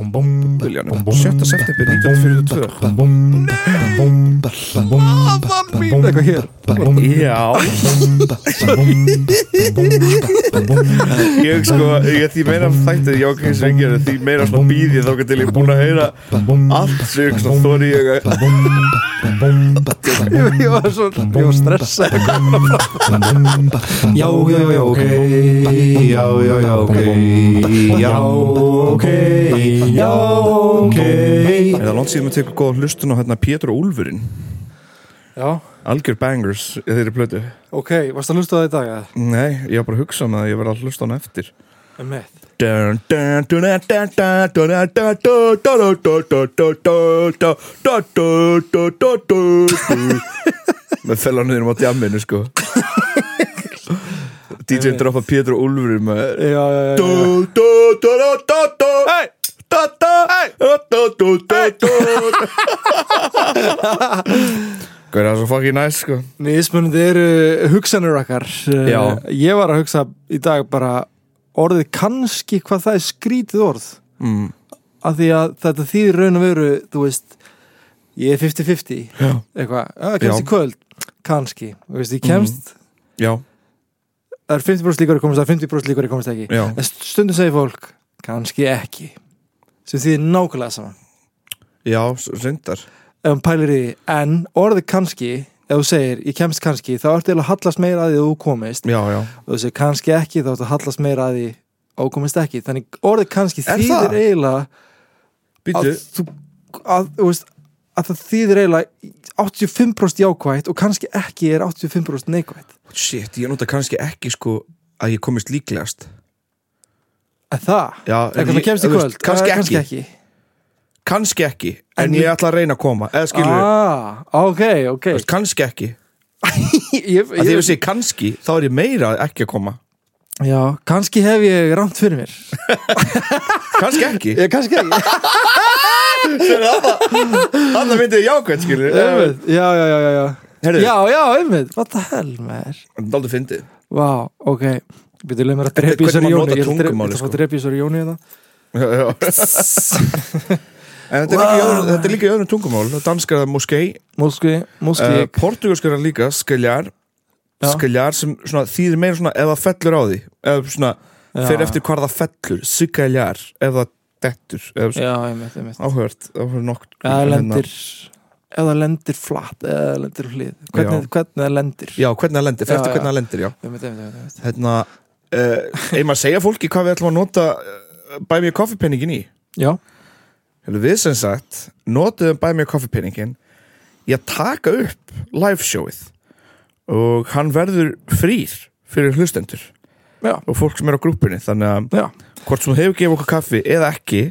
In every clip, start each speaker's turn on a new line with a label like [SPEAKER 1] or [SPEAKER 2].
[SPEAKER 1] Viljanum, 7. september 1942 Lafan Ah, mín, eitthvað hér
[SPEAKER 2] Já Ég sko, ég, því meira þættið ég ákveðin sem ég gerir, því meira svona býð ég þókað til ég er búin að heyra allt sem ég svona þóri ég að
[SPEAKER 1] Ég
[SPEAKER 3] Ég var svo, ég var stressað
[SPEAKER 1] Já, já, já, ok Já, já, já, ok Já, ok Já, ok
[SPEAKER 2] Það er langt síðan við tekum góða hlustun á hérna Pétur og Úlfurinn
[SPEAKER 3] Já,
[SPEAKER 2] Algjör bangers í þeirri plötu
[SPEAKER 3] ok, varst að hlusta á það í dag eða?
[SPEAKER 2] Nei, ég var bara að hugsa um það að ég verði að hlusta á hann eftir
[SPEAKER 3] Um mitt
[SPEAKER 2] Dun, dun, dun, dun, dun, dun, dun, dun, dun, dun, dun, dun, dun, dun, dun, dun, dun, dun, dun, dun, dun. með fellanum á djamminu sko DJ droppa Pétur og Úlfurinn með
[SPEAKER 3] Já, já, já, já
[SPEAKER 2] Hvað er það svo fucking næst sko
[SPEAKER 3] Mismunandi eru hugsanir okkar Eh,
[SPEAKER 2] Já.
[SPEAKER 3] Ég var að hugsa í dag bara orðið kannski hvað það er skrítið orð
[SPEAKER 2] mm.
[SPEAKER 3] af því að þetta þýðir raun og veru þú veist, ég er 50-50 eitthvað, "Já, ég kemst
[SPEAKER 2] Já. Mhm.
[SPEAKER 3] í kvöld kannski, þú veist, ég kemst
[SPEAKER 2] Já,
[SPEAKER 3] það er 50% líkur að ég komast, það er 50% líkur að ég komast ekki
[SPEAKER 2] já
[SPEAKER 3] en stundum segir fólk, kannski ekki sem þýðir nákvæmlega saman
[SPEAKER 2] Já, syndar
[SPEAKER 3] ef hún pælir í því, en orðið kannski ef þú segir, ég kemst kannski þá ertu eiginlega að hallast meira að því að þú komist
[SPEAKER 2] Já, já
[SPEAKER 3] og þú segir kannski ekki, þá ertu að hallast meira að því að þú komist ekki, þannig orðið kannski
[SPEAKER 2] Er það?
[SPEAKER 3] þýðir eiginlega að
[SPEAKER 2] Býtu
[SPEAKER 3] þú að, þú veist, að það þýðir eiginlega 85% jákvætt og kannski ekki er 85% neikvætt
[SPEAKER 2] Shit, ég nota kannski ekki sko að ég komist líklegast
[SPEAKER 3] en það,
[SPEAKER 2] Já, en
[SPEAKER 3] eitthvað það
[SPEAKER 2] ég-
[SPEAKER 3] kemst í
[SPEAKER 2] þú veist,
[SPEAKER 3] kvöld
[SPEAKER 2] kannski
[SPEAKER 3] eh, kannski ekki
[SPEAKER 2] Kannski ekki, en
[SPEAKER 3] En
[SPEAKER 2] ég
[SPEAKER 3] ég-
[SPEAKER 2] ætla að reyna að koma Eða skilur við,
[SPEAKER 3] ah, ok, ok
[SPEAKER 2] þú veist, kannski ekki
[SPEAKER 3] ég, ég,
[SPEAKER 2] Að því ef ég segi kannski, þá er ég meira ekki að koma
[SPEAKER 3] já, kannski hef ég rámt fyrir mér
[SPEAKER 2] Kannski ekki
[SPEAKER 3] ég, kannski ekki
[SPEAKER 2] Þannig myndið ég jákvæmt skilur við.
[SPEAKER 3] Einmitt, já, já, já, já, já
[SPEAKER 2] Heyrðu.
[SPEAKER 3] Já, já, einmitt, what the hell, maður
[SPEAKER 2] Það er aldrei fyndið
[SPEAKER 3] Vá, ok Býtu, leið mér að
[SPEAKER 2] Þetta er
[SPEAKER 3] drepa í
[SPEAKER 2] hvernig
[SPEAKER 3] þessari
[SPEAKER 2] maður
[SPEAKER 3] jóni
[SPEAKER 2] notar
[SPEAKER 3] Ég ætla að
[SPEAKER 2] tungumálið, sko.
[SPEAKER 3] drepa- ég ætla að fá að drepa í þessari hérna. jóni þetta
[SPEAKER 2] Já, já. En þetta er, líka í öðru, þetta er líka í öðrum tungumál Danskar er moskei
[SPEAKER 3] Múlski,
[SPEAKER 2] uh,
[SPEAKER 3] múlski
[SPEAKER 2] Portugalskar er líka skiljar
[SPEAKER 3] Já.
[SPEAKER 2] Skiljar sem svona, þýðir meira svona ef það fellur á því Ef svona,
[SPEAKER 3] Já.
[SPEAKER 2] fyrir eftir hvar það fellur Skiljar, ef það dettur Ef
[SPEAKER 3] Já, einmitt, einmitt
[SPEAKER 2] áhört, áhört nokk
[SPEAKER 3] Ef það lendir Ef það lendir flatt Ef það lendir hlið Hvernig, hvernig það lendir
[SPEAKER 2] já, hvernig það lendir, fyrir
[SPEAKER 3] Já,
[SPEAKER 2] eftir
[SPEAKER 3] já.
[SPEAKER 2] hvernig það lendir já.
[SPEAKER 3] Einmitt, einmitt, einmitt, einmitt
[SPEAKER 2] hérna, uh, ef maður segja fólki hvað við ætlum að nota uh, buy me a coffee penningin í
[SPEAKER 3] Já,
[SPEAKER 2] Hérna, við sem sagt, notuðum buy me a coffee penningin í að taka upp live showið og hann verður frýr fyrir hlustendur
[SPEAKER 3] já,
[SPEAKER 2] og fólk sem er á grúpunni þannig að
[SPEAKER 3] já
[SPEAKER 2] hvort sem þú hefur gefið okkur kaffi eða ekki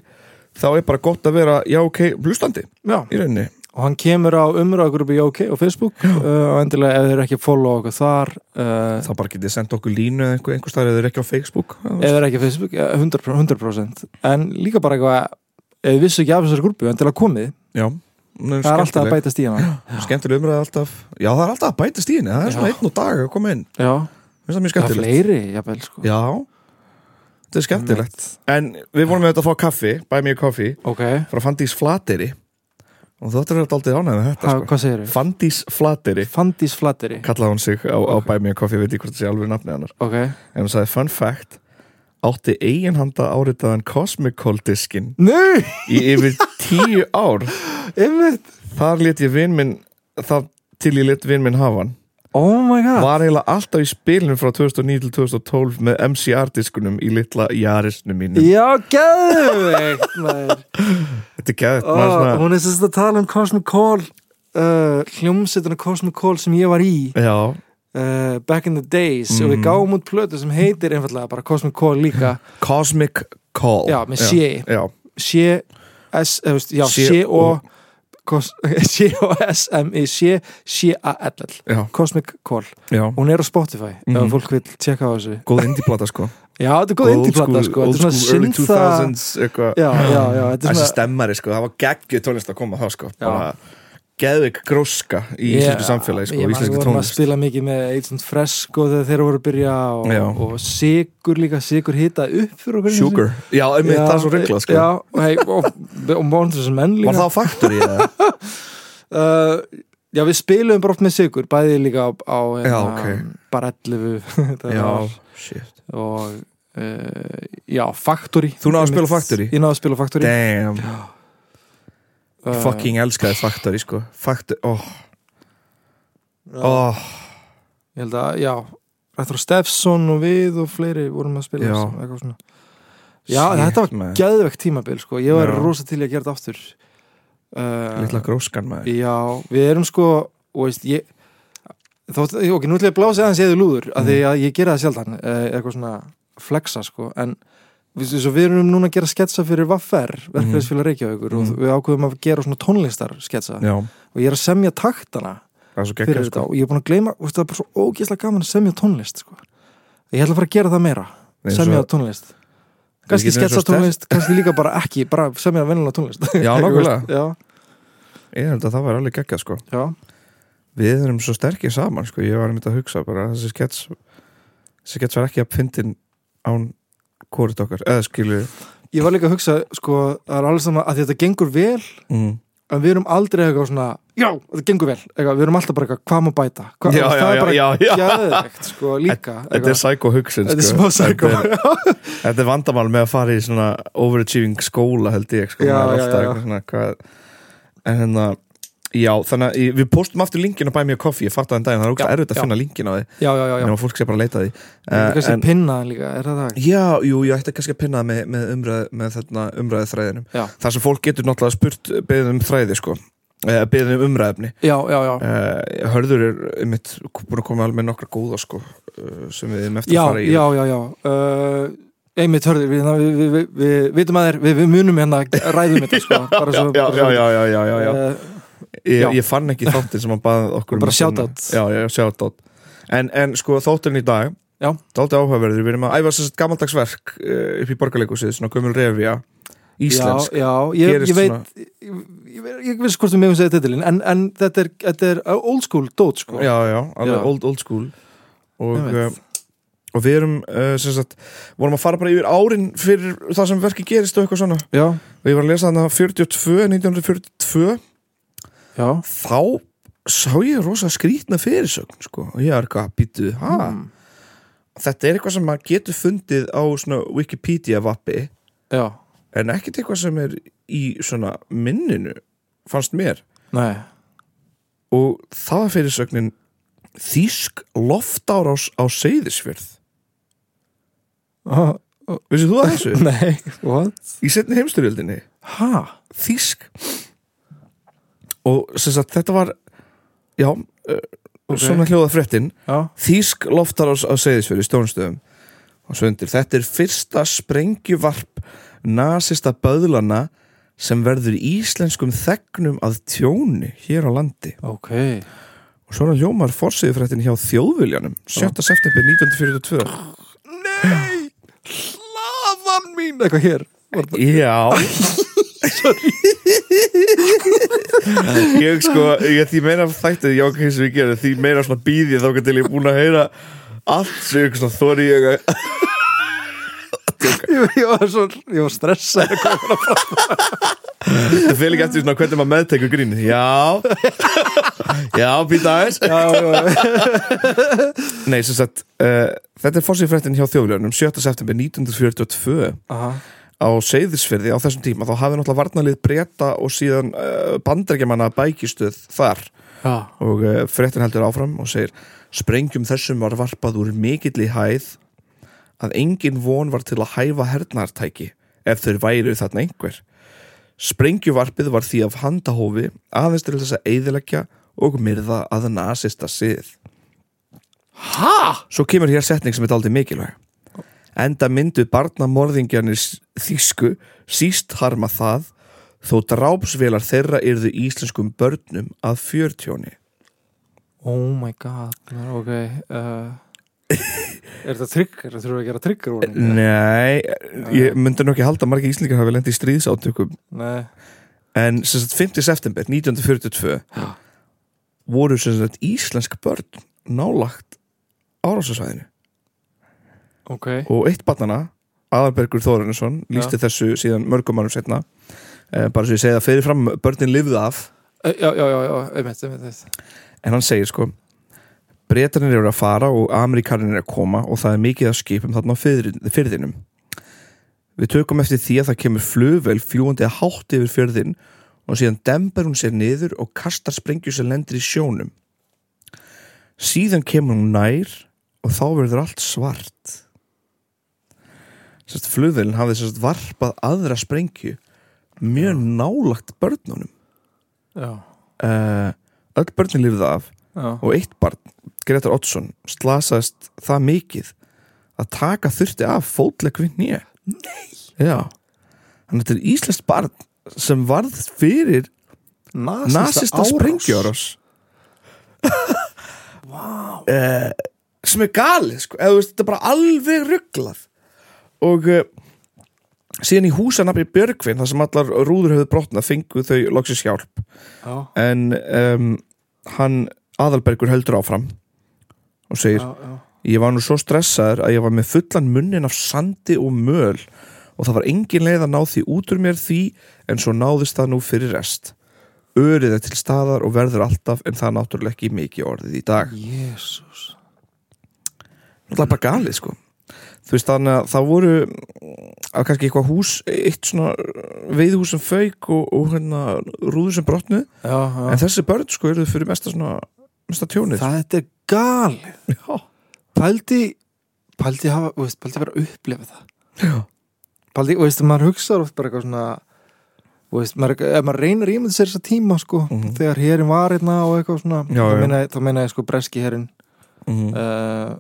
[SPEAKER 2] þá er bara gott að vera já ok hlustandi
[SPEAKER 3] Já,
[SPEAKER 2] í rauninni
[SPEAKER 3] og hann kemur á umræðagrubi OK og Facebook uh, og endilega ef þeir eru ekki að follow okkur þar uh,
[SPEAKER 2] þá bara getið senda okkur línu eða einhver, einhver staðar eða ekki á Facebook
[SPEAKER 3] ef það er ekki á Facebook, ja, 100%, 100% en líka bara eitthvað ef þið vissu ekki af þessari grúpu, en til að komið
[SPEAKER 2] já,
[SPEAKER 3] það er alltaf að bætast í hana
[SPEAKER 2] skemmtileg umræði alltaf já það er alltaf að bæta stíðinni, það er svona
[SPEAKER 3] Já.
[SPEAKER 2] einn og dag að koma inn,
[SPEAKER 3] já,
[SPEAKER 2] finnst það mjög
[SPEAKER 3] það er
[SPEAKER 2] skemmtilegt
[SPEAKER 3] fleiri jafnvel, sko.
[SPEAKER 2] já, þetta er skemmtilegt en við vorum með þetta að fá kaffi, buy me a coffee
[SPEAKER 3] ok,
[SPEAKER 2] frá Fandís Flateri og þú ættir að vera aldrei ánægð með
[SPEAKER 3] ha,
[SPEAKER 2] þetta sko.
[SPEAKER 3] hvað segir við?
[SPEAKER 2] Fandís Flateri,
[SPEAKER 3] Fandís Flatteri
[SPEAKER 2] kallaði hún sig á, á buy me a coffee, ég veit ekki hvort það sé alveg nafnið hennar
[SPEAKER 3] ok,
[SPEAKER 2] en hún sagði fun fact átti eiginhanda áritaðan Cosmicol diskin
[SPEAKER 3] nei,
[SPEAKER 2] í yfir tíu ár
[SPEAKER 3] einmitt
[SPEAKER 2] þar let ég vinn minn þar til ég let vinn minn hafa hann
[SPEAKER 3] oh my god,
[SPEAKER 2] var eiginlega alltaf í spilinu frá 2009 til 2012 með MCR-diskunum í litla jarisnum mínum
[SPEAKER 3] já, geðveikt maður.
[SPEAKER 2] Þetta er gæðið,
[SPEAKER 3] Ó,
[SPEAKER 2] maður svona
[SPEAKER 3] hún er sérst að tala um Cosmic Call uh, hljómsetuna Cosmic Call sem ég var í
[SPEAKER 2] Já,
[SPEAKER 3] uh, back in the days og við gáum út plötu sem heitir einfallega bara Cosmic Call líka
[SPEAKER 2] Cosmic Call
[SPEAKER 3] Já, með sé.
[SPEAKER 2] Já,
[SPEAKER 3] C S, eh, þú veist, já,
[SPEAKER 2] C-
[SPEAKER 3] C O kos- C O S M I C C A L L
[SPEAKER 2] já,
[SPEAKER 3] Cosmic Call,
[SPEAKER 2] já
[SPEAKER 3] hún er á Spotify
[SPEAKER 2] Mhm.
[SPEAKER 3] ef fólk vil tjekka á þessu
[SPEAKER 2] Góð indie-plata sko
[SPEAKER 3] já, þetta er góð indie-plata sko
[SPEAKER 2] Old
[SPEAKER 3] þetta er
[SPEAKER 2] school, early
[SPEAKER 3] svona synda
[SPEAKER 2] 2000s eitthvað
[SPEAKER 3] já, já, já, þetta er
[SPEAKER 2] Þessi
[SPEAKER 3] svona
[SPEAKER 2] stemmari sko, það var geggju tónlist að koma þá sko bara geðveik gróska í íslensku samfélagi sko,
[SPEAKER 3] ég
[SPEAKER 2] í
[SPEAKER 3] man, við
[SPEAKER 2] íslensku
[SPEAKER 3] vorum að
[SPEAKER 2] tónlist
[SPEAKER 3] spila mikið með Agent Fresco þegar þeir voru að byrja
[SPEAKER 2] Já.
[SPEAKER 3] og, og Sigur líka, Sigur hita upp fyrir okkur
[SPEAKER 2] Sugar, já, einmitt
[SPEAKER 3] Já, eh,
[SPEAKER 2] það er svo reglað sko.
[SPEAKER 3] já, og, hey, og, og Monsters and Men líka
[SPEAKER 2] Var það á Factory eða?
[SPEAKER 3] Uh, já, við spilum bara oft með Sigur bæði líka á, á hérna,
[SPEAKER 2] Já, ok.
[SPEAKER 3] bara 11 þetta
[SPEAKER 2] já,
[SPEAKER 3] var-
[SPEAKER 2] shit
[SPEAKER 3] og uh, já, Factory
[SPEAKER 2] Þú náðu að spila
[SPEAKER 3] Einmitt.
[SPEAKER 2] Factory?
[SPEAKER 3] Ég náðu að spila Factory
[SPEAKER 2] Damn,
[SPEAKER 3] uh,
[SPEAKER 2] fucking elskaði Factory sko Factory, oh,
[SPEAKER 3] já,
[SPEAKER 2] oh
[SPEAKER 3] Ég held að, já Rættur Stefson og við og fleiri vorum að spila
[SPEAKER 2] Já.
[SPEAKER 3] eitthvað svona Já,
[SPEAKER 2] Shit,
[SPEAKER 3] þetta var
[SPEAKER 2] maður.
[SPEAKER 3] geðvegt tímabil sko. ég var
[SPEAKER 2] Já.
[SPEAKER 3] rosa til í að gera þetta aftur uh,
[SPEAKER 2] Lilla gróskan maður
[SPEAKER 3] Já, við erum sko og veist, ég þótt, ok, nú ætla ég að blása aðeins eða lúður af
[SPEAKER 2] Mm.
[SPEAKER 3] því að ég gera það sjaldan eh, eitthvað svona flexa sko, en við, svo við erum núna að gera sketsa fyrir Vaffer
[SPEAKER 2] Mhm.
[SPEAKER 3] verkefæðisfélag Reykjavíkur og við ákveðum að gera svona tónlistar sketsa
[SPEAKER 2] Mm. Já,
[SPEAKER 3] og ég er að semja taktana
[SPEAKER 2] það er svo
[SPEAKER 3] fyrir
[SPEAKER 2] geggjað
[SPEAKER 3] þetta
[SPEAKER 2] sko
[SPEAKER 3] og ég er búin að gleyma, veist, það er bara svo ógeðslega gaman að semja tónlist sko. ég ætla að fara að gera það meira
[SPEAKER 2] Eins og-
[SPEAKER 3] semja tónlist kannski
[SPEAKER 2] getum eins
[SPEAKER 3] sketsa
[SPEAKER 2] og stef-
[SPEAKER 3] tónlist, kannski líka bara ekki bara semja venjulega tónlist
[SPEAKER 2] Já, nákvæmlega.
[SPEAKER 3] já,
[SPEAKER 2] Ég held að það var alveg geggjað sko
[SPEAKER 3] já,
[SPEAKER 2] Við erum svo sterkir saman sko Ég var einmitt að hugsa bara Þessi skets Þessi skets var ekki að fyndin án hvort okkar Eða skilur
[SPEAKER 3] Ég var líka að hugsa, sko, það er alveg saman að þetta gengur vel,
[SPEAKER 2] mm.
[SPEAKER 3] en við erum aldrei eitthvað svona, já, þetta gengur vel eitthvað, við erum alltaf bara eitthvað, hvað má bæta hvað,
[SPEAKER 2] Já,
[SPEAKER 3] það
[SPEAKER 2] já,
[SPEAKER 3] er bara
[SPEAKER 2] já, já, já.
[SPEAKER 3] geðveikt, sko, líka
[SPEAKER 2] Þetta er sækó hugsin
[SPEAKER 3] Þetta er
[SPEAKER 2] sko.
[SPEAKER 3] smá psycho.
[SPEAKER 2] Þetta er- Þetta er vandamál með að fara í svona Overachieving skóla held ég sko
[SPEAKER 3] Já,
[SPEAKER 2] Maður er
[SPEAKER 3] já,
[SPEAKER 2] alltaf
[SPEAKER 3] já.
[SPEAKER 2] eitthvað svona, hvað... En hérna Já, þannig að ég- við postum aftur linkin á Buy Me a Coffee Ég fatt að þann daginn, það er ógst
[SPEAKER 3] Já,
[SPEAKER 2] erfitt að
[SPEAKER 3] já.
[SPEAKER 2] finna linkin á því
[SPEAKER 3] já, já, já, já,
[SPEAKER 2] Nefnum að fólk sé bara að leita að því
[SPEAKER 3] Þetta er
[SPEAKER 2] Eh,
[SPEAKER 3] kannski
[SPEAKER 2] en-
[SPEAKER 3] en... pinnaðan líka, er það það?
[SPEAKER 2] Já, jú, ég ætti kannski að pinna það með, með, umræð, með þarna umræðið þræðinum
[SPEAKER 3] Já.
[SPEAKER 2] Þar sem fólk getur náttúrulega spurt beðið um þræði sko eh, beðið um umræðefni
[SPEAKER 3] Já, já, já,
[SPEAKER 2] eh, Hörður er mitt búin að koma alveg með nokkra góða sko eh, sem við erum eftir
[SPEAKER 3] já,
[SPEAKER 2] að fara í
[SPEAKER 3] já, já, já. Uh, einmitt hörður, við, við, við, við, við vitum að þér, við, við munum hérna ræðum þetta, sko, bara
[SPEAKER 2] Já,
[SPEAKER 3] svo
[SPEAKER 2] já,
[SPEAKER 3] Eh,
[SPEAKER 2] já, já, já, já, já, já.
[SPEAKER 3] já.
[SPEAKER 2] Ég,
[SPEAKER 3] já.
[SPEAKER 2] ég fann ekki þáttinn sem hann baði okkur um
[SPEAKER 3] Bara
[SPEAKER 2] að finna.
[SPEAKER 3] shoutout.
[SPEAKER 2] Já, já, shoutout en, en sko þáttinn í dag
[SPEAKER 3] Já.
[SPEAKER 2] Þátti áhugaverður, við erum að æfa sérst gamaldagsverk eh, upp í borgarleikusið, svona gömul revja Íslensk
[SPEAKER 3] Já, já, ég,
[SPEAKER 2] Gerist
[SPEAKER 3] ég veit
[SPEAKER 2] svona-
[SPEAKER 3] ég, ég, ég veist hvort við megum segja titilin en, en þetta, er, þetta er eh, old school dót sko.
[SPEAKER 2] já, já, alveg
[SPEAKER 3] Já.
[SPEAKER 2] Old, old school og,
[SPEAKER 3] Ég veit.
[SPEAKER 2] uh, og við erum uh, sem sagt, vorum að fara bara yfir árin fyrir það sem verki gerist og eitthvað svona
[SPEAKER 3] já,
[SPEAKER 2] og ég var að lesa þarna 42, 1942
[SPEAKER 3] já.
[SPEAKER 2] þá sá ég rosa skrítna fyrirsögn sko, og ég er eitthvað, býtu, ha
[SPEAKER 3] Mm.
[SPEAKER 2] þetta er eitthvað sem maður getur fundið á svona Wikipedia vappi
[SPEAKER 3] já,
[SPEAKER 2] en ekkert eitthvað sem er í svona minninu, fannst mér
[SPEAKER 3] nei
[SPEAKER 2] og það var fyrirsögnin Þýsk loftárás á Seyðisfjörð
[SPEAKER 3] oh,
[SPEAKER 2] Vissið þú að þessu?
[SPEAKER 3] Nei, what?
[SPEAKER 2] Í setni heimsturjöldinni
[SPEAKER 3] Ha?
[SPEAKER 2] Þýsk Og sem sagt þetta var Já, uh, svona hljóða fréttin
[SPEAKER 3] Já,
[SPEAKER 2] Þýsk loftarás á Seyðisfjörði Stónstöðum og svo undir Þetta er fyrsta sprengjuvarp Nasista böðlana sem verður íslenskum þegnum að tjóni hér á landi
[SPEAKER 3] ok
[SPEAKER 2] og svona hljómar fórsiðfréttin hjá þjóðviljanum 7. september 1942
[SPEAKER 3] Nei, hlaðan mín Eitthvað hér Var það-
[SPEAKER 2] Já Ég sko, ég, því meira þættið ég ákveð sem ég gera, því meira svona býð ég þá til ég er búin að heyra allt sem ég svona þóri ég að
[SPEAKER 3] Ég, ég var svo, ég var stressað að koma að fara.
[SPEAKER 2] það fel ekki eftir svona hvernig maður meðtekur grín Já Já, býta aðeins
[SPEAKER 3] Já, já, já.
[SPEAKER 2] Nei, sem sagt, uh, þetta er fórsýð fréttin hjá þjóðljónum 7. september 1942
[SPEAKER 3] Aha,
[SPEAKER 2] á Seyðisfyrði á þessum tíma þá hafði náttúrulega varnalið breyta og síðan uh, bandarækjamanna bækistuð þar
[SPEAKER 3] já,
[SPEAKER 2] og uh, fréttin heldur áfram og segir sprengjum þessum var varpað úr mikill í hæð að engin von var til að hæfa hernartæki ef þeir væru þarna einhver sprengjuvarpið var því af handahófi aðeins til þess að eyðileggja og myrða að nasista sið
[SPEAKER 3] Ha?
[SPEAKER 2] Svo kemur hér setning sem er aldrei mikilvæg Enda myndu barnamorðingjarnir þýsku síst harma það þó drápsvelar þeirra yrðu íslenskum börnum að fjörtjóni
[SPEAKER 3] oh my god Ok uh, Er þetta trigger? Þurfum við að gera trigger úr
[SPEAKER 2] Eh, Nei, ég myndi nú ekki halda að margir íslendingar hafi lendið í stríðsátökum
[SPEAKER 3] Nei
[SPEAKER 2] en sem sagt 5. september 1942
[SPEAKER 3] Já.
[SPEAKER 2] voru sem sagt íslensk börn nálagt árásasvæðinu
[SPEAKER 3] ok,
[SPEAKER 2] og eitt barnana Aðalbergur Þórunnsson lísti þessu síðan mörgum árum setna Eh, bara svo ég segi það fyrirfram börnin lifðu af
[SPEAKER 3] já, Eh, já, já, já, einmitt, einmitt, einmitt.
[SPEAKER 2] en hann segir sko breytanir eru að fara og amerikanir eru að koma og það er mikið að skipum þarna á fyrðin- fyrðinum við tökum eftir því að það kemur flugvel fljúandi að hátt yfir fyrðin og síðan dembar hún sér niður og kastar sprengju sem lendir í sjónum síðan kemur hún nær og þá verður allt svart sérst flugvelin hafði sérst varpað aðra sprengju mjög nálagt börnunum
[SPEAKER 3] já,
[SPEAKER 2] uh, öll börnin lifði af
[SPEAKER 3] já,
[SPEAKER 2] og eitt barn, Gretar Oddsson slasaðist það mikið að taka þurfti af fótlegg við nýja Nei! Já Þannig að þetta er íslenskt barn sem varð fyrir
[SPEAKER 3] nasista,
[SPEAKER 2] nasista sprengjárás
[SPEAKER 3] wow.
[SPEAKER 2] eh, sem er galið sko, eða þú veist, þetta er bara alveg rugglað og eh, síðan í húsanabbi Björgvin þar sem allar rúður höfðu brotnað fengu þau loksins hjálp
[SPEAKER 3] já,
[SPEAKER 2] en um, hann aðalbergur heldur áfram og segir
[SPEAKER 3] já, já,
[SPEAKER 2] Ég var nú svo stressaður að ég var með fullan munnin af sandi og möl og það var engin leið að ná því út úr mér því en svo náðist það nú fyrir rest. Örið er til staðar og verður alltaf en það er náttúrulega ekki mikið orðið í dag.
[SPEAKER 3] jésús
[SPEAKER 2] Það er bara galið sko. Þú veist þannig að það voru að kannski eitthvað hús, eitt svona veiðhús sem fauk og, og hérna rúður sem brotnu
[SPEAKER 3] já, já,
[SPEAKER 2] en þessi börn sko eruð fyrir mesta svona mesta tjónið.
[SPEAKER 3] það þetta er galið
[SPEAKER 2] Já.
[SPEAKER 3] pældi pældi hafa, þú veist, pældi vera að upplifa það
[SPEAKER 2] Já.
[SPEAKER 3] pældi, þú veist, maður hugsaður oft bara eitthvað svona þú veist, maður, ef maður reynir ímynd sér þessa tíma, sko,
[SPEAKER 2] Mhm.
[SPEAKER 3] þegar herin var hérna og eitthvað svona,
[SPEAKER 2] Já,
[SPEAKER 3] þá,
[SPEAKER 2] já.
[SPEAKER 3] Meina, ég- þá meina ég sko breski herin
[SPEAKER 2] Mm.
[SPEAKER 3] uh,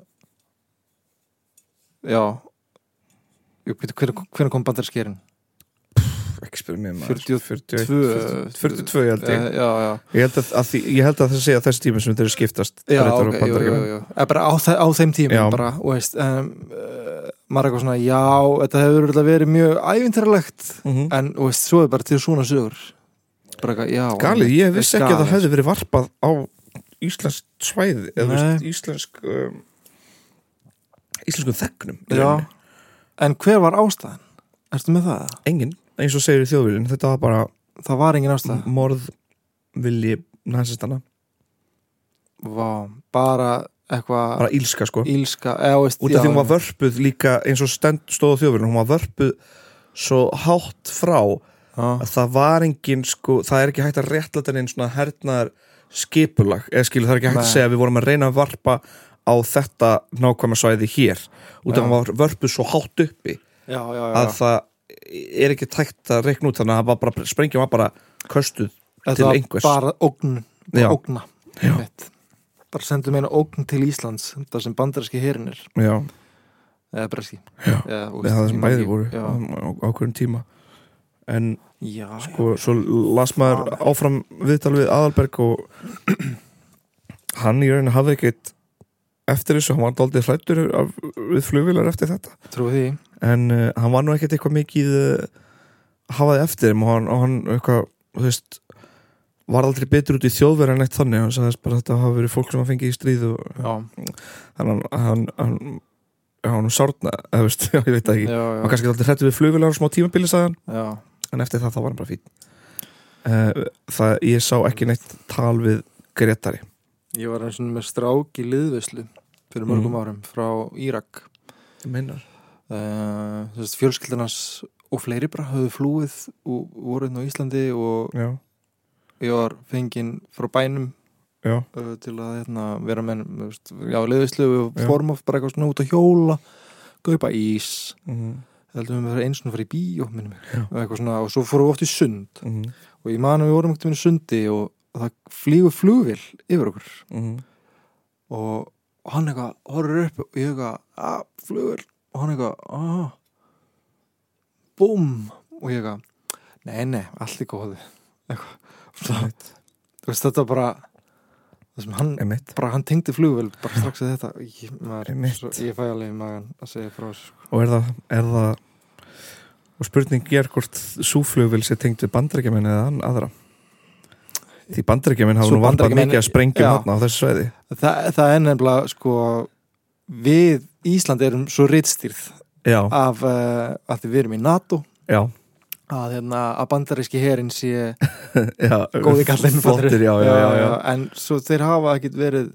[SPEAKER 3] já Jú, bíddu, hvenær hvenær kom bandarski herin?
[SPEAKER 2] Ekki spyrja mér maður. 41,
[SPEAKER 3] 42.
[SPEAKER 2] 42 held ég.
[SPEAKER 3] Eh, já, já,
[SPEAKER 2] Ég held að, að, því, ég held að það sé að þessi tíma sem þeir eru skiptast
[SPEAKER 3] já,
[SPEAKER 2] Bretar og
[SPEAKER 3] ok, jú, jú,
[SPEAKER 2] Bandaríkjamenn.
[SPEAKER 3] jú. Eh, bara á, þe á þeim tíma
[SPEAKER 2] Já.
[SPEAKER 3] bara, og veist um, uh, maður er eitthvað svona, já, þetta hefur örugglega verið mjög ævintarlegt
[SPEAKER 2] Mhm.
[SPEAKER 3] en, og veist, svo er bara til svona sögur bara eitthvað, já
[SPEAKER 2] Galið, ég vissi ekki að það
[SPEAKER 3] Galið. sko,
[SPEAKER 2] hefði verið varpað á íslensk svæði eða þú veist,
[SPEAKER 3] Nei.
[SPEAKER 2] íslensk um, íslenskum þegnum í
[SPEAKER 3] já.
[SPEAKER 2] rauninni.
[SPEAKER 3] en hver var ástæðan? Ertu með það?
[SPEAKER 2] engin, eins og segir í þjóðvílin þetta var bara
[SPEAKER 3] Það var engin ástæða
[SPEAKER 2] morð vilji næsistanna,
[SPEAKER 3] Vá, bara eitthvað
[SPEAKER 2] bara ílska sko
[SPEAKER 3] ílska eða, veist,
[SPEAKER 2] út af því hún var vörpuð líka eins og stend, stóð á þjóðvílin, hún var vörpuð svo hátt frá
[SPEAKER 3] vörð
[SPEAKER 2] að það var engin sko, það er ekki hægt að réttlæta neinn svona hernaðar skipulag, eða skilu það er ekki hægt að
[SPEAKER 3] Nei.
[SPEAKER 2] segja að við vorum að reyna að varpa á þetta nákvæma svæði hér út af
[SPEAKER 3] Já.
[SPEAKER 2] að var vörpuð svo hátt uppi
[SPEAKER 3] já, já, já,
[SPEAKER 2] að það er ekki tækt að reikna út þannig að það var bara, sprengjum var bara köstuð
[SPEAKER 3] þetta
[SPEAKER 2] til
[SPEAKER 3] var
[SPEAKER 2] einhvers.
[SPEAKER 3] bara ógn
[SPEAKER 2] Já.
[SPEAKER 3] bara ógna mitt. bara sendum eina ógn til Íslands þar sem bandaríski herin er
[SPEAKER 2] Já,
[SPEAKER 3] eða breski
[SPEAKER 2] Já.
[SPEAKER 3] eða, þú
[SPEAKER 2] það
[SPEAKER 3] veist,
[SPEAKER 2] er það
[SPEAKER 3] ég
[SPEAKER 2] sem
[SPEAKER 3] man
[SPEAKER 2] bæði
[SPEAKER 3] ekki-
[SPEAKER 2] voru Um,
[SPEAKER 3] já,
[SPEAKER 2] á, á, á hverjum tíma en
[SPEAKER 3] já, já.
[SPEAKER 2] sko, svo las maður áfram viðtal við Aðalberg og hann í rauninu hafði ekkit eftir þessu, hann var daldið hrættur af, við flugvilar eftir þetta
[SPEAKER 3] trúi því
[SPEAKER 2] en uh, hann var nú ekkit eitthvað mikið uh, hafaði eftir þeim og hann, og hann eitthvað, þú veist var aldrei betur út í þjóðverð en eitt þannig hann sagðist bara að þetta hafa verið fólk sem hann fengið í stríð og
[SPEAKER 3] já,
[SPEAKER 2] þannig hann hann, hann, hann sárna, eða veist, já, ég veit það ekki
[SPEAKER 3] já,
[SPEAKER 2] hann
[SPEAKER 3] já,
[SPEAKER 2] var kannski aldrei hrættur við flugvilar og smá tímabili sagði hann
[SPEAKER 3] já.
[SPEAKER 2] en eftir það þá var hann bara fín uh, það, ég sá ekki neitt tal við Gretari
[SPEAKER 3] ég var eins og með strák í liðvislu fyrir mörgum
[SPEAKER 2] Mhm.
[SPEAKER 3] árum frá Írak
[SPEAKER 2] minnar
[SPEAKER 3] uh, fjölskyldarnas og fleiri bara höfðu flúið og voru hérna á Íslandi og
[SPEAKER 2] já,
[SPEAKER 3] ég var fenginn frá bænum
[SPEAKER 2] já,
[SPEAKER 3] uh, til að hérna, vera með þú veist, já, liðislu og
[SPEAKER 2] Já.
[SPEAKER 3] form of bara eitthvað svona út að hjóla kaupa ís
[SPEAKER 2] mm,
[SPEAKER 3] heldum við að vera eins og fara í bíó minnum mig
[SPEAKER 2] Já.
[SPEAKER 3] og eitthvað svona og svo fórum við oft í sund
[SPEAKER 2] mm,
[SPEAKER 3] og ég man að við vorum ekkert minni sundi og það flýgur flugvill yfir okkur
[SPEAKER 2] mm,
[SPEAKER 3] og, og hann eitthvað horfir upp og ég eitthvað að flugvill og hann eitthvað að búm og ég eitthvað nei nei allt í góði eitthvað svona, þú veist þetta bara það sem hann
[SPEAKER 2] emitt
[SPEAKER 3] bara hann tengdi flugvel bara strax að þetta ég, maður,
[SPEAKER 2] Einmitt.
[SPEAKER 3] svo, ég fæ alveg í magan að segja frá þessu sko.
[SPEAKER 2] og er það, er það og spurning er hvort súflugvil sé tengd við bandarækjumenn eða hann aðra því bandarækjumenn hafa
[SPEAKER 3] Svo
[SPEAKER 2] nú varpað
[SPEAKER 3] Bandaríkjamenn-
[SPEAKER 2] mikið að sprengjum
[SPEAKER 3] Já.
[SPEAKER 2] hann á þessu sveiði
[SPEAKER 3] það, það er nefnilega sko við Ísland erum svo rittstýrð
[SPEAKER 2] já,
[SPEAKER 3] af uh, að við erum í NATO
[SPEAKER 2] já,
[SPEAKER 3] að, hérna, að bandaríski herin sé
[SPEAKER 2] já
[SPEAKER 3] góði kallinn fattarðu?
[SPEAKER 2] flottir, já, já, já, já.
[SPEAKER 3] en svo þeir hafa ekkit verið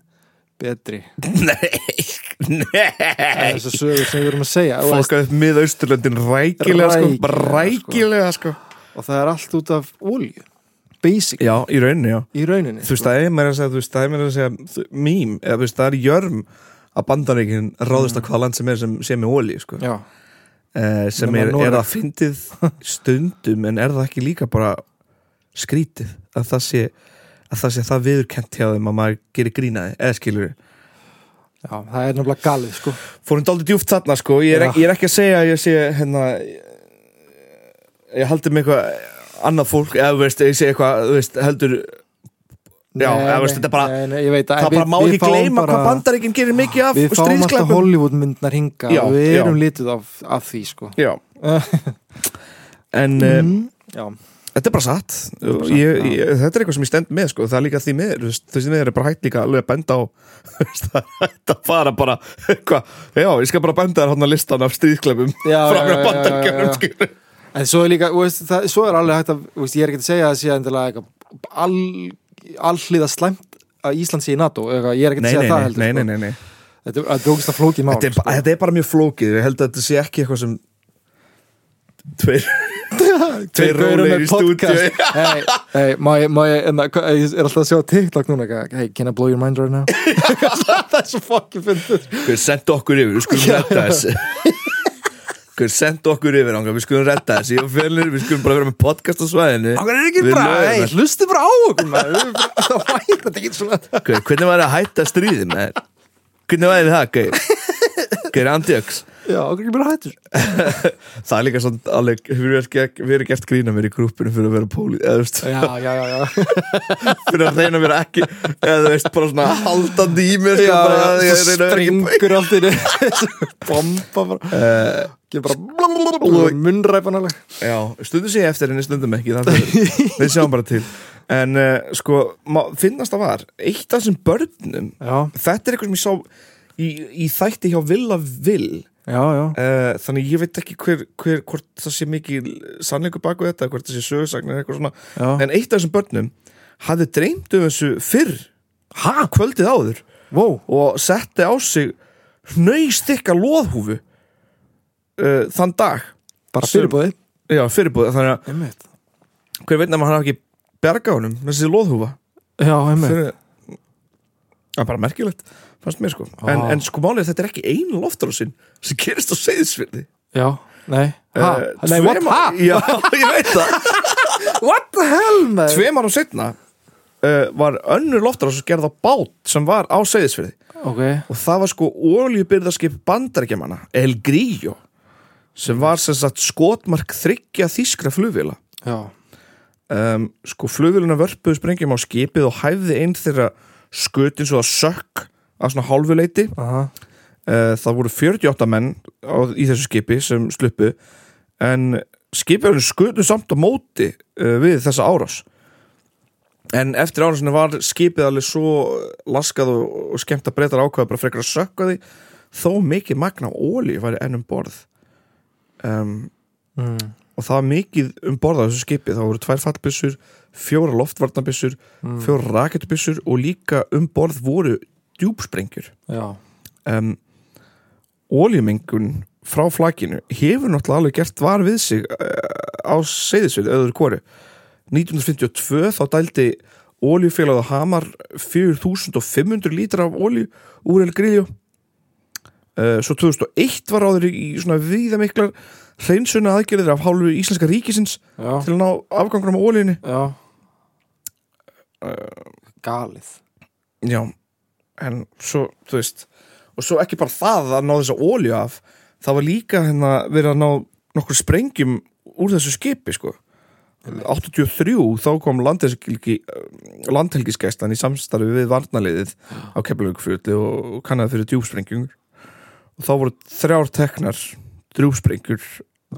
[SPEAKER 3] betri
[SPEAKER 2] nei,
[SPEAKER 3] en
[SPEAKER 2] nei
[SPEAKER 3] þessar sögur sem við erum að segja og,
[SPEAKER 2] fólk að miðausturlöndin rækilega sko, bara
[SPEAKER 3] Rækilega,
[SPEAKER 2] rækilega sko
[SPEAKER 3] og það er allt út af olju basic
[SPEAKER 2] já, í rauninni, já
[SPEAKER 3] í rauninni sko.
[SPEAKER 2] þú veist, það er meira að segja, þú veist, það er meira að segja þú- mím, eða þú veist, það er jörm að bandaríkin ráðist á hvaða land sem er sem sé með ólí, sko
[SPEAKER 3] Mm. já,
[SPEAKER 2] eh, sem
[SPEAKER 3] Nema
[SPEAKER 2] er,
[SPEAKER 3] Noreg.
[SPEAKER 2] er það fyndið stundum en er það ekki líka bara skrítið að það sé að það sé það viðurkent hjá þeim að maður gerir grínaði, eða skilur
[SPEAKER 3] já, það er nefnilega galið sko
[SPEAKER 2] fórum dálítið djúft þarna sko ég er,
[SPEAKER 3] Já.
[SPEAKER 2] ekki, ég er ekki að segja að ég sé hérna ég, ég haldi með eitthvað annað fólk, eða þú veist, ég sé eitthvað þú veist, heldur, Já, eða veist, þetta er bara-
[SPEAKER 3] nei, nei, ég veit, að-
[SPEAKER 2] það
[SPEAKER 3] en
[SPEAKER 2] bara má
[SPEAKER 3] við-
[SPEAKER 2] ekki
[SPEAKER 3] við fáum
[SPEAKER 2] gleyma hvað
[SPEAKER 3] bara-
[SPEAKER 2] bandaríkin gerir mikið af
[SPEAKER 3] við fáum alltaf
[SPEAKER 2] stríðsklæpum
[SPEAKER 3] Hollywood myndnar hinga
[SPEAKER 2] Já,
[SPEAKER 3] og við
[SPEAKER 2] já.
[SPEAKER 3] erum litið af, af því sko
[SPEAKER 2] Já, en mm.
[SPEAKER 3] mm, já,
[SPEAKER 2] Þetta er bara satt,
[SPEAKER 3] er bara satt,
[SPEAKER 2] ég,
[SPEAKER 3] já.
[SPEAKER 2] ég, þetta er eitthvað sem ég stend með sko. það er líka því miður, þú veist, þessi miður er bara hægt líka alveg að benda á það er hægt að fara bara hva, já, ég skal bara benda þér hann að listan af stríðklefum
[SPEAKER 3] já,
[SPEAKER 2] frá
[SPEAKER 3] já,
[SPEAKER 2] mér
[SPEAKER 3] já, já, já, já.
[SPEAKER 2] bandarkjörnum
[SPEAKER 3] en svo er líka þú veist, það, svo er alveg hægt að, þú veist, ég er ekki að segja að sé endilega eitthvað all, allíða slæmt að Ísland sé í NATO eitthvað, ég er ekki að
[SPEAKER 2] Nei, nei,
[SPEAKER 3] segja
[SPEAKER 2] nei,
[SPEAKER 3] það heldur
[SPEAKER 2] nei, nei,
[SPEAKER 3] sko.
[SPEAKER 2] nei, nei.
[SPEAKER 3] þetta er- þetta er ógust að flókið mál
[SPEAKER 2] Þetta, er, ba- þetta er bara mjög flókið, ég held að þetta sé ekki eitthvað sem tveir tveir rólegir í stúdíu
[SPEAKER 3] hey, hey, má ég, má ég, enna, hva- ég er alltaf að sjá TikTok núna eitthvað, hey, can I blow your mind right now það er svo fucking fyndur
[SPEAKER 2] Hver sendu okkur yfir, við skulum redda þessu Hver sendu okkur yfir ánga, við skulum redda þessu Ég og fjölnir, við skulum bara vera með podcast á svæðinu
[SPEAKER 3] það er ekki
[SPEAKER 2] Við
[SPEAKER 3] bara,
[SPEAKER 2] lögum
[SPEAKER 3] hey,
[SPEAKER 2] þetta.
[SPEAKER 3] hlustu bara á okkur maður. Við erum bara- það væri þetta ekki svona
[SPEAKER 2] Hver, hvernig var það að hætta stríði með þér? Hvernig var það, Gauð? Gauð Andjöks
[SPEAKER 3] já, okkur ekki bara hættur
[SPEAKER 2] Það er líka svona alveg, við erum gert, við erum gert grína mér í grúppinu fyrir að vera póli eða þú veist,
[SPEAKER 3] já, já, já, já
[SPEAKER 2] fyrir að reyna mér ekki eða þú veist, bara svona haldandi í mér sko, bara, að ég reyni að vera ekki-
[SPEAKER 3] strengur allt í þessu bomba bara
[SPEAKER 2] Eh,
[SPEAKER 3] Gerir bara munnræpan alveg
[SPEAKER 2] Já, stundum sé ég eftir henni, stundum ekki þannig að við- Við sjáum bara til En uh, sko, má, finnast það var Eitt af þessum börnum
[SPEAKER 3] Já,
[SPEAKER 2] Þetta er eitthvað sem ég sá í, í þætti hjá Villa Vill
[SPEAKER 3] já, já
[SPEAKER 2] Eh, þannig ég veit ekki hver, hver, hvort það sé mikið sannleikur baku þetta hvort það sé sögursagnir eitthvað svona
[SPEAKER 3] Já,
[SPEAKER 2] en eitt af þessum börnum hafði dreymt um þessu fyrr ha? kvöldið áður
[SPEAKER 3] wow,
[SPEAKER 2] og setti á sig hnaustikka loðhúfu uh, þann dag
[SPEAKER 3] bara
[SPEAKER 2] Sem-
[SPEAKER 3] fyrirbúði
[SPEAKER 2] já, fyrirbúð, þannig að
[SPEAKER 3] Einmitt
[SPEAKER 2] hver veit nema hann hafi ekki berga honum með þessi loðhúfa
[SPEAKER 3] Já, einmitt
[SPEAKER 2] fyrir það er bara merkilegt fannst mér sko, en,
[SPEAKER 3] Vá.
[SPEAKER 2] en sko málið er að þetta er ekki einu loftarásin sem gerist á seyðisfyrði
[SPEAKER 3] Já, nei Ha,
[SPEAKER 2] Eh,
[SPEAKER 3] nei, what,
[SPEAKER 2] tveim-
[SPEAKER 3] ha
[SPEAKER 2] Já, ég veit það
[SPEAKER 3] What the hell, maður
[SPEAKER 2] Tveim árum setna uh, var önnur loftarás gerð á bát sem var á Seyðisfyrði
[SPEAKER 3] Ok,
[SPEAKER 2] og það var sko óljubyrðarskip bandarækjamanna El Grillo sem var sem sagt skotmark þryggja þýskra flugvila
[SPEAKER 3] já
[SPEAKER 2] um, sko flugvilina vörpuðu sprengjum á skipið og hæfði einn þeirra skutin svo að sökk að svona hálfuleiti
[SPEAKER 3] Aha.
[SPEAKER 2] Eh, Það voru 48 menn á, í þessu skipi sem sluppu en skipjarinn skutu samt á móti uh, við þessa árás en eftir árásinu var skipið alveg svo laskað og, og skemmt að breytar ákvaða bara frekar að sökka því þó mikið magna ólíu væri enn um borð um,
[SPEAKER 3] Mm.
[SPEAKER 2] og það var mikið um borða þessu skipi það voru tvær fallbissur, fjóra loftvarnabissur fjóra raketbissur og líka um borð voru djúpsprengjur
[SPEAKER 3] Já,
[SPEAKER 2] um, óljumengun frá flakinu hefur náttúrulega alveg gert var við sig uh, á seyðisvið öðru kori 1952 þá dældi óljufélagðu Hamar 4500 lítra af ólju úr El Grillo uh, svo 2001 var áður í svona viðamiklar hreinsuna aðgerðir af hálfu íslenska ríkisins
[SPEAKER 3] já,
[SPEAKER 2] til að ná afgangurum á óljunni
[SPEAKER 3] já Galið
[SPEAKER 2] Já, en svo, þú veist og svo ekki bara það að ná þessa ólju af það var líka hérna verið að ná nokkur sprengjum úr þessu skipi sko 83 þá kom landhelgi, landhelgisgæslan í samstarfi við varnaliðið á Keflavíkfjöldi og kannaði fyrir djúpsprengjum og þá voru þrjár teknar drjúpsprengjur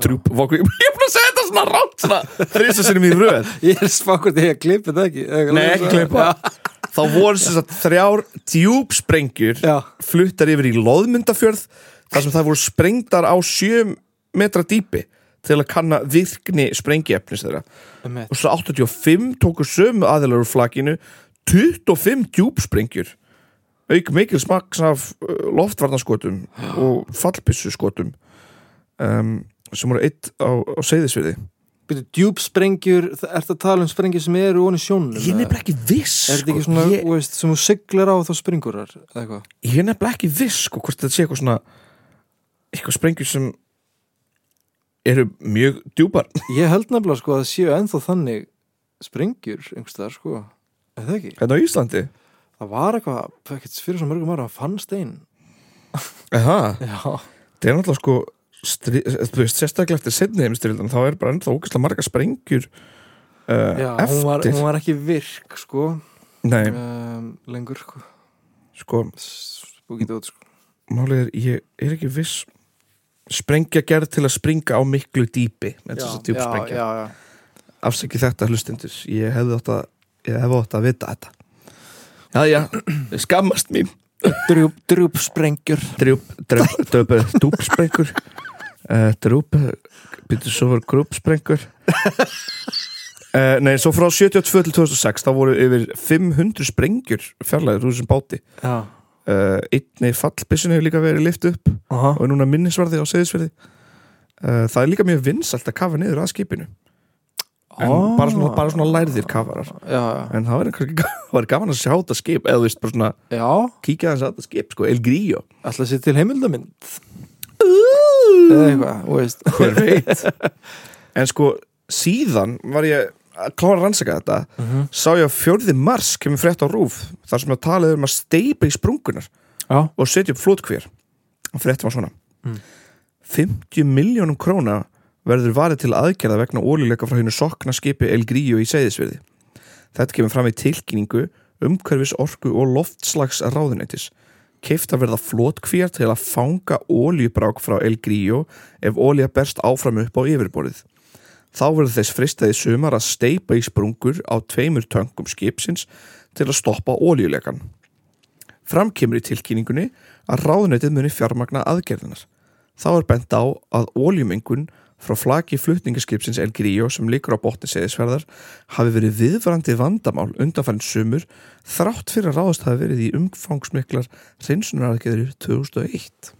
[SPEAKER 2] Trúp Vokur Ég er búin að segja þetta svona rátt svona Þrýsa sinni mér röð
[SPEAKER 3] Ég er spákvort að ég klippi það ekki
[SPEAKER 2] Nei, ekki klippa Þá voru sem sagt þrjár djúpsprengjur
[SPEAKER 3] Já.
[SPEAKER 2] fluttar yfir í loðmyndafjörð þar sem það voru sprengdar á 7 metra dýpi til að kanna virkni sprengiefnis þeirra
[SPEAKER 3] Einmitt.
[SPEAKER 2] og svo 85 tóku sömu aðilar úr flakinu 25 djúpsprengjur auk mikil smaks af uh, loftvarnaskotum og fallbissuskotum um, sem voru eitt á, á seyðisviði
[SPEAKER 3] Býtu, djúpsprengjur, þa- ertu að tala um sprengjur sem eru ofan í sjónum?
[SPEAKER 2] Ég er
[SPEAKER 3] eða?
[SPEAKER 2] nefnilega ekki viss
[SPEAKER 3] Er þetta ekki
[SPEAKER 2] sko.
[SPEAKER 3] svona,
[SPEAKER 2] ég,
[SPEAKER 3] þú veist, sem þú siglar á þá springur þar, eða eitthvað?
[SPEAKER 2] ég er nefnilega ekki viss sko, hvort þetta sé eitthvað svona eitthvað sprengjur sem eru mjög djúpar
[SPEAKER 3] Ég held nefnilega, sko, að það séu ennþá þannig springjur, einhvers þar, sko. Er það ekki?
[SPEAKER 2] hérna á Íslandi
[SPEAKER 3] Það var eitthvað, ekkert fyrir svo mörgum ára, að fannst einn.
[SPEAKER 2] Aha.
[SPEAKER 3] Já.
[SPEAKER 2] það er náttúrulega sko stri, þú veist, sérstaklega eftir setni heimstyrildin þá er bara ennþá ógæslega marga sprengjur uh,
[SPEAKER 3] Já,
[SPEAKER 2] eftir
[SPEAKER 3] hún var, hún var ekki virk, sko,
[SPEAKER 2] Nei,
[SPEAKER 3] um, lengur, sko.
[SPEAKER 2] sko,
[SPEAKER 3] Spúkið út, sko.
[SPEAKER 2] málið er ég er ekki viss sprengja gerð til að springa á miklu dýpi með þess að djúpsprengja
[SPEAKER 3] Já, já, já.
[SPEAKER 2] afsækki þetta hlustendur ég hefði átt að, ég hefði átt að vita þetta já, já, ég skammast mín
[SPEAKER 3] Drjúp, drjúpsprengjur.
[SPEAKER 2] drjúp, drjúp, drjúp dúpsprengur uh, drjúp býttu svo var grúpsprengur uh, nei, svo frá 72 til 2006 þá voru yfir 500 sprengjur fjarlæður úr þessum báti
[SPEAKER 3] Já.
[SPEAKER 2] uh, einni fallbissin hefur líka verið lift upp
[SPEAKER 3] Aha.
[SPEAKER 2] og er núna minnisvarði á seðisverði uh, það er líka mjög vinsalt að kafa niður að skipinu en
[SPEAKER 3] Ah.
[SPEAKER 2] bara, svona, bara svona lærðir kafarar
[SPEAKER 3] Já, já.
[SPEAKER 2] en það var, kannski, var gaman að sjá þetta skip eða þú veist bara svona
[SPEAKER 3] Já.
[SPEAKER 2] kíkja þess að þetta skip sko, El Grillo
[SPEAKER 3] Ætla að sé til heimildamind
[SPEAKER 2] Eh,
[SPEAKER 3] Eða eitthvað, þú veist
[SPEAKER 2] hver veit en sko síðan var ég að klára að rannsaka þetta sá ég að fjörði mars kemur frétt á rúf þar sem að talið er um að steipa í sprungunar
[SPEAKER 3] Já,
[SPEAKER 2] og setja upp flótkvér og fréttum var svona
[SPEAKER 3] Mm.
[SPEAKER 2] 50 miljónum króna verður varið til aðgerða vegna ólíleika frá hennu sokna skipi El Grillo í segðisverði þetta kemur fram í tilkynningu umhverfis orku og loftslags ráðuneytis keift að verða flótkvér til að fanga ólíubrák frá El Grillo ef ólíja berst áfram upp á yfirborðið þá verður þess fristað í sumar að steipa í sprungur á tveimur töngum skipsins til að stoppa ólíuleikan Fram kemur í tilkynningunni að ráðunetið muni fjármagna aðgerðinar. Þá er bent á að óljumengun frá flaki flutningaskipsins El Grillo sem líkur á botni seðisverðar hafi verið viðvarandi vandamál undanfærin sumur þrátt fyrir að ráðast hafi verið í umfangsmiklar hreinsunaraðgerðir 2001.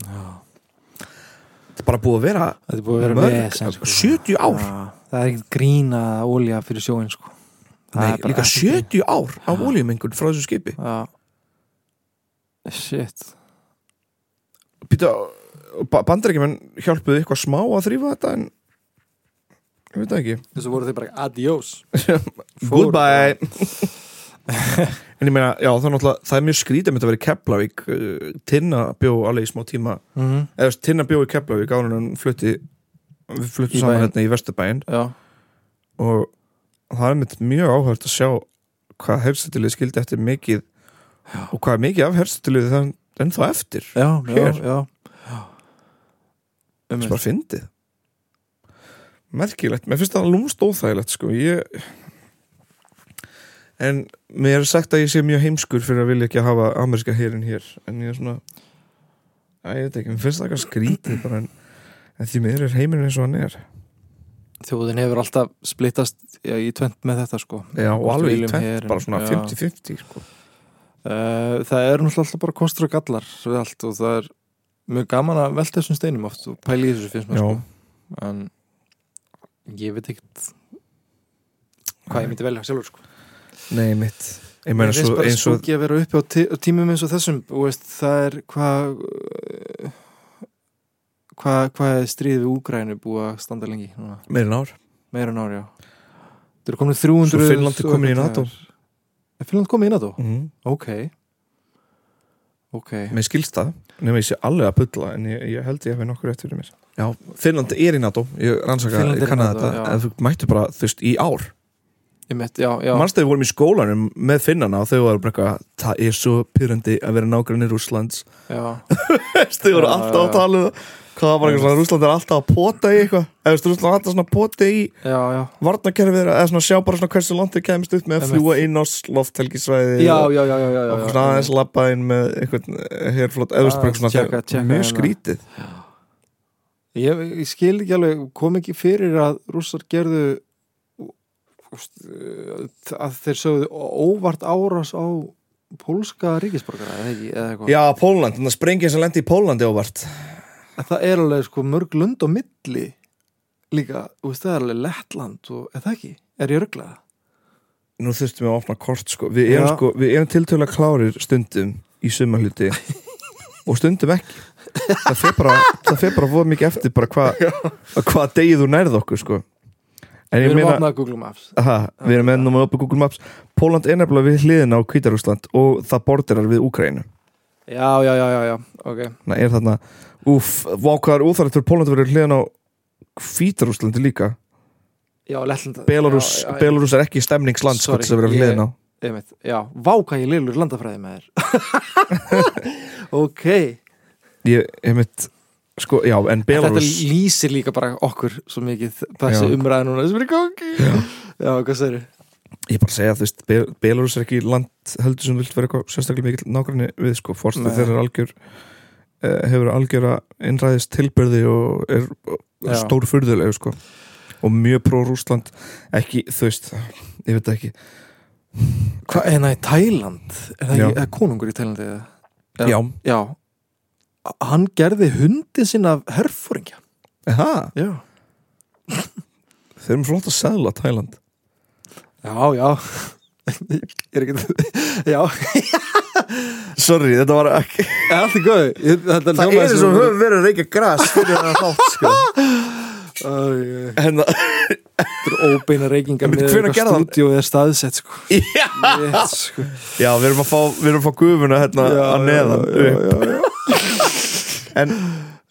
[SPEAKER 2] Þetta er bara búið að vera
[SPEAKER 3] þetta er búið að vera
[SPEAKER 2] Mörg-
[SPEAKER 3] vesen, sko.
[SPEAKER 2] 70 ár.
[SPEAKER 3] Já, Það er ekkert grína ólja fyrir sjóin sko. Það
[SPEAKER 2] nei,
[SPEAKER 3] er bara
[SPEAKER 2] líka
[SPEAKER 3] ekkert
[SPEAKER 2] 70 ár af óljumengun frá þessu skipi.
[SPEAKER 3] grín. Já. Shit
[SPEAKER 2] Býta, bandarækjumenn hjálpuðu eitthvað smá að þrýfa þetta en ég veit það ekki.
[SPEAKER 3] Þessu voru þeir bara adiós Fóru
[SPEAKER 2] Goodbye En ég meina, já, það er náttúrulega Það er mjög skrítið með þetta að vera í Keflavík uh, Tinna bjó alveg í smá tíma
[SPEAKER 3] mm -hmm.
[SPEAKER 2] Eða þú veist, Tinna bjó í Keflavík áður en hann flutti Við
[SPEAKER 3] Í
[SPEAKER 2] fluttum saman
[SPEAKER 3] bæinn.
[SPEAKER 2] hérna í Vesturbæin
[SPEAKER 3] Já,
[SPEAKER 2] Og það er mitt mjög áhört að sjá Hvað herstutilið skildi eftir mikið Og hvað er mikið af herstutilið Það er ennþá eftir
[SPEAKER 3] já, já,
[SPEAKER 2] Hér.
[SPEAKER 3] já.
[SPEAKER 2] Það
[SPEAKER 3] Um
[SPEAKER 2] er bara fyndið Merkilegt, mér finnst það lúmst óþægilegt sko ég En mér er sagt að ég sé mjög heimskur fyrir að vilja ekki að hafa ameríska herin hér En ég er svona Æ, ég veit ekki, mér finnst það eitthvað skrítið bara en, en því mér er heimurinn eins og hann er
[SPEAKER 3] Þjóðin hefur alltaf splittast já, í tvent með þetta sko
[SPEAKER 2] Já, og
[SPEAKER 3] Hvort
[SPEAKER 2] alveg í
[SPEAKER 3] viljum
[SPEAKER 2] tvent,
[SPEAKER 3] herinn,
[SPEAKER 2] bara svona
[SPEAKER 3] já.
[SPEAKER 2] 50-50 sko.
[SPEAKER 3] Uh, það er náttúrulega alltaf bara kostur og gallar við allt og það er mjög gaman að velta þessum steinum oft og pæla í þessu finnst mér
[SPEAKER 2] Já.
[SPEAKER 3] sko. en ég veit ekkert hvað ég myndi velja sjálfur sko.
[SPEAKER 2] Nei, mitt Ég meina
[SPEAKER 3] finnst
[SPEAKER 2] svo
[SPEAKER 3] bara
[SPEAKER 2] eins og
[SPEAKER 3] skúki að vera uppi á tí- á tímum eins og þessum og veist, það er hvað uh, hvað hva er stríðið við úgrænu búið að standa lengi núna?
[SPEAKER 2] meira en ár
[SPEAKER 3] meira en ári já það eru komin 300
[SPEAKER 2] Svo Finnland er
[SPEAKER 3] og
[SPEAKER 2] komin í
[SPEAKER 3] eitthvað
[SPEAKER 2] NATO.
[SPEAKER 3] dagar. er Finnland komin í NATO?
[SPEAKER 2] mm.
[SPEAKER 3] ok ok
[SPEAKER 2] Mér skilst það, nema ég sé alveg að pulla En ég, ég held ég hefði nokkur eftir fyrir mér Já, Finnland er í NATO, ég rannsaka
[SPEAKER 3] Finnland er
[SPEAKER 2] Ég
[SPEAKER 3] í
[SPEAKER 2] kannaði
[SPEAKER 3] NATO,
[SPEAKER 2] þetta,
[SPEAKER 3] já.
[SPEAKER 2] en þú mættu bara Þú veist, í ár
[SPEAKER 3] Ég mitt, já, já.
[SPEAKER 2] Manstu að við vorum í skólanum með finnana og þau varum bara eitthvað, það er svo pyrrandi að vera nágrannir Úslands
[SPEAKER 3] já.
[SPEAKER 2] Þau voru
[SPEAKER 3] Já,
[SPEAKER 2] alltaf
[SPEAKER 3] já,
[SPEAKER 2] að tala um það hvað það var eitthvað svona Rúsland er alltaf að pota í eitthvað eða veist, Rúsland er alltaf svona að pota í
[SPEAKER 3] já, já,
[SPEAKER 2] varnakerfið þeirra, eða svona sjá bara svona hversu langt þau kemst upp með að
[SPEAKER 3] Einmitt.
[SPEAKER 2] fljúa inn á lofthelgisvæði
[SPEAKER 3] já,
[SPEAKER 2] og,
[SPEAKER 3] já, já, já, já, já,
[SPEAKER 2] og svona aðeins labba inn með einhvern eh, herflott eðurspörg svona
[SPEAKER 3] tjekka-
[SPEAKER 2] þegar-
[SPEAKER 3] tjekka
[SPEAKER 2] mjög
[SPEAKER 3] hérna.
[SPEAKER 2] skrítið
[SPEAKER 3] Ég, ég skil ekki alveg, kom ekki fyrir að rússar gerðu úst, að þeir sögðu óvart árás á pólska ríkisborgara eða ekki, eða eitthvað
[SPEAKER 2] Já, Pólland, þannig að sprengja sem lendi í Pólandi óvart
[SPEAKER 3] En það er alveg sko mörg lönd á milli líka, þú veist, það er alveg Lettland og, eða ekki, er ég rugglað
[SPEAKER 2] Nú þurftum við að opna kort sko Við erum,
[SPEAKER 3] Já.
[SPEAKER 2] sko, við erum tiltölu klárir stundum í suma hluti og stundum ekki Það fer bara, það fer bara voð mikið eftir bara hvað hva degið þú nærð okkur sko En
[SPEAKER 3] Við
[SPEAKER 2] ég
[SPEAKER 3] erum
[SPEAKER 2] meina
[SPEAKER 3] opnað að Google Maps
[SPEAKER 2] ha, Við erum ennum að opna Google Maps Póland er nefnilega við hliðina á Kvítarúsland og það borderar við Úkraínu
[SPEAKER 3] Já, já, já, já, já, ok
[SPEAKER 2] Þannig er þarna Úf, vákaðar úþarlegt fyrir Póland að vera við hliðina á Kvítarúslandi líka
[SPEAKER 3] Já, Lettland
[SPEAKER 2] Belarus,
[SPEAKER 3] já, já,
[SPEAKER 2] Belarus er ekki stemningsland sko
[SPEAKER 3] Sorry,
[SPEAKER 2] til þess að vera við
[SPEAKER 3] ég-
[SPEAKER 2] hliðina á
[SPEAKER 3] einmitt, Já, vá hvað ég leilur landafræði með þér Ok
[SPEAKER 2] Ég, ég mitt Sko, já, en
[SPEAKER 3] Þetta
[SPEAKER 2] Belarus
[SPEAKER 3] lýsir líka bara okkur svo mikið þessi
[SPEAKER 2] Já.
[SPEAKER 3] umræði núna sem er í gangi Já, hvað segir
[SPEAKER 2] ég bara segja, þú veist, Be- Belarus er ekki land heldur sem vilt vera eitthvað sérstaklega mikill nágranni við, sko, forstu
[SPEAKER 3] Nei.
[SPEAKER 2] þeirra er algjör eh, hefur algjör að innræðist tilbyrði og er
[SPEAKER 3] Já.
[SPEAKER 2] stór fyrðulegu, sko og mjög pró-Rúsland, ekki, þú veist ég veit ekki,
[SPEAKER 3] Hvað, en það er eh, Tæland Er það
[SPEAKER 2] Já.
[SPEAKER 3] ekki, eða konungur í Tælandi eða? Já.
[SPEAKER 2] já,
[SPEAKER 3] Já A- Hann gerði hundi sinn af herfóringja
[SPEAKER 2] eha
[SPEAKER 3] Já
[SPEAKER 2] þeir eru með flott að segla Tæland
[SPEAKER 3] Já, já Ég er ekki Já,
[SPEAKER 2] sorry, þetta var ekki
[SPEAKER 3] er allt í góð Þetta
[SPEAKER 2] það
[SPEAKER 3] hljómaði
[SPEAKER 2] er eins og höfum verið að reykja græs fyrir það þátt, sko
[SPEAKER 3] Æ, æ, æ.
[SPEAKER 2] en það,
[SPEAKER 3] Þetta er óbeina reykingar
[SPEAKER 2] Einmitt,
[SPEAKER 3] með
[SPEAKER 2] hvenær gerði hann-
[SPEAKER 3] stúdíu eða staðsett sko.
[SPEAKER 2] já,
[SPEAKER 3] Rétt, sko.
[SPEAKER 2] já, við erum að fá við erum að fá gufuna hérna
[SPEAKER 3] Já,
[SPEAKER 2] að
[SPEAKER 3] já,
[SPEAKER 2] neðan
[SPEAKER 3] já,
[SPEAKER 2] upp.
[SPEAKER 3] já, já.
[SPEAKER 2] En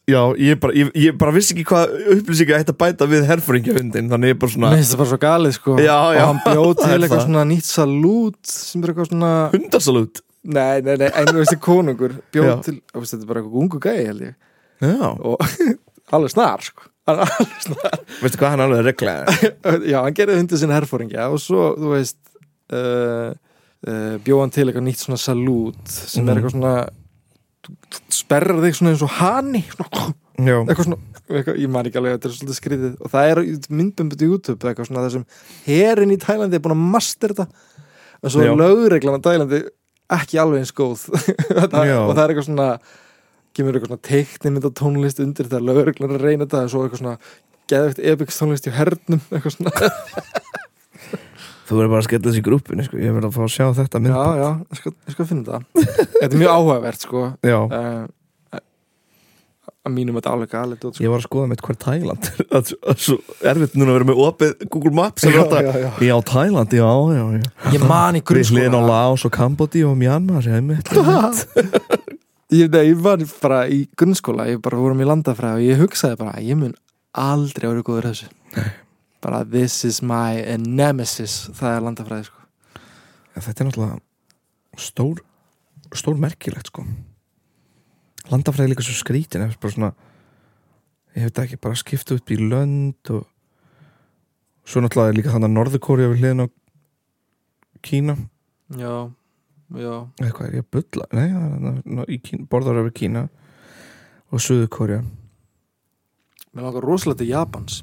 [SPEAKER 2] já, ég bara, ég, ég bara vissi ekki hvað upplýsingar ætti að bæta við herfóringjahundin Þannig ég bara svona
[SPEAKER 3] Mér finnst það bara svo galið sko.
[SPEAKER 2] Já, já.
[SPEAKER 3] Og hann bjóð
[SPEAKER 2] Það er
[SPEAKER 3] til eitthvað
[SPEAKER 2] það.
[SPEAKER 3] svona nýtt salút sem er eitthvað svona
[SPEAKER 2] hundasalút
[SPEAKER 3] Nei, nei, nei, einu veist konungur bjóð
[SPEAKER 2] Já.
[SPEAKER 3] til, þú veist, þetta er bara eitthvað ungu gæi held ég
[SPEAKER 2] Já,
[SPEAKER 3] og alveg snar sko. Hann alveg snar
[SPEAKER 2] veistu hvað hann alveg er reglaði
[SPEAKER 3] Já, hann gerði hundið sinna herfóringja og svo, þú veist uh, uh, bjóð hann til eitthvað nýtt svona salút sem er
[SPEAKER 2] Mhm.
[SPEAKER 3] eitthvað svona sperrar þig svona eins og hani svona,
[SPEAKER 2] Já,
[SPEAKER 3] eitthvað svona, eitthvað, ég man ekki alveg þetta er svolítið skrítið og það er myndbömbut í YouTube eitthvað svona þessum herin í Tælandi er búin að master þetta en svo
[SPEAKER 2] Já.
[SPEAKER 3] er lögreglan á Tælandi ekki alveg eins góð þetta,
[SPEAKER 2] Já.
[SPEAKER 3] og það er eitthvað svona kemur eitthvað svona teiknimynda tónlist undir þegar lögreglan er að reyna þetta og svo eitthvað svona geðvegt epics tónlist í hernum eitthvað svona,
[SPEAKER 2] þú verður bara að skella þessi í grúppinu sko. Ég verður að fá að sjá þetta
[SPEAKER 3] já,
[SPEAKER 2] mynd
[SPEAKER 3] já, ég skal, ég skal finna þetta þetta er mjög áhugavert sko
[SPEAKER 2] já.
[SPEAKER 3] uh, að mínum þetta alveg galið dót, sko.
[SPEAKER 2] Ég var að skoða mitt hver Tæland Það er svo erfitt núna að vera með opið Google Maps
[SPEAKER 3] Já,
[SPEAKER 2] já, já,
[SPEAKER 3] já, já.
[SPEAKER 2] já, Tæland, já, já, já
[SPEAKER 3] ég man í
[SPEAKER 2] Við hliðin á
[SPEAKER 3] grunnskóla
[SPEAKER 2] Laos og Kambodí og Mjanmar Ég mitt
[SPEAKER 3] ég, nei, ég var bara í grunnskóla ég bara vorum í landafræði og ég hugsaði bara ég mun aldrei verið góður í þessu bara this is my nemesis það er landafræði sko.
[SPEAKER 2] Þetta er náttúrulega stór stór merkilegt sko landafræði er líka svo skrítin eða bara svona ég veit ekki, bara skipta upp í lönd og svo náttúrulega er líka þannig að Norðurkóri við hliðin á Kína
[SPEAKER 3] já, já
[SPEAKER 2] eða hvað er ég að bulla nei, það er þarna í Kína, borðar yfir Kína og Suðurkóri
[SPEAKER 3] mér langar rosalega til Japans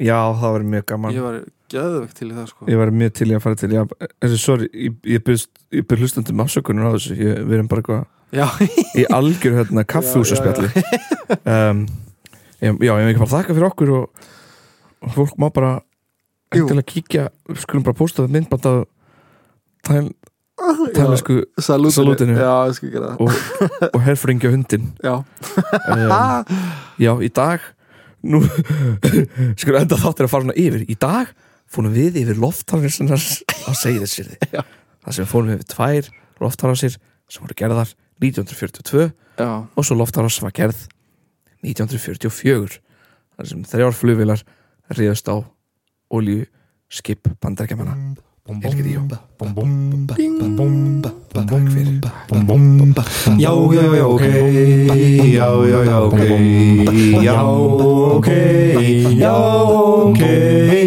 [SPEAKER 2] já, það verður mjög gaman
[SPEAKER 3] ég var geðvegt til í það sko.
[SPEAKER 2] ég var mjög til í að fara til Japan Þessi, sorry, ég, ég byrst ég byrð hlustandum afsökunar á þessu ég, við erum bara eitthvað
[SPEAKER 3] já,
[SPEAKER 2] í algjör hérna kaffjúsaspjalli um, já, já, ég vil ekki bara þakka fyrir okkur og, og fólk má bara
[SPEAKER 3] Jú.
[SPEAKER 2] til að kíkja, við skulum bara posta það myndband af tæl, tælisku
[SPEAKER 3] salútinu,
[SPEAKER 2] Salútinu.
[SPEAKER 3] já, ég skal gera það
[SPEAKER 2] og, og herfringja hundin
[SPEAKER 3] já,
[SPEAKER 2] um, já, í dag nú skulum enda þáttir að fara svona yfir í dag fórum við yfir loftarfinsinars á segðisirði
[SPEAKER 3] Já.
[SPEAKER 2] það sem fórum við yfir tvær loftarfinsir sem voru gerðar 1942
[SPEAKER 3] já,
[SPEAKER 2] og svo loftarás var gerð 1944 þar sem þrjár flugvilar reyðust á olju skip bandarkjamanna
[SPEAKER 1] Já, já, já, ok Já, já, já, ok Já, ok Já, ok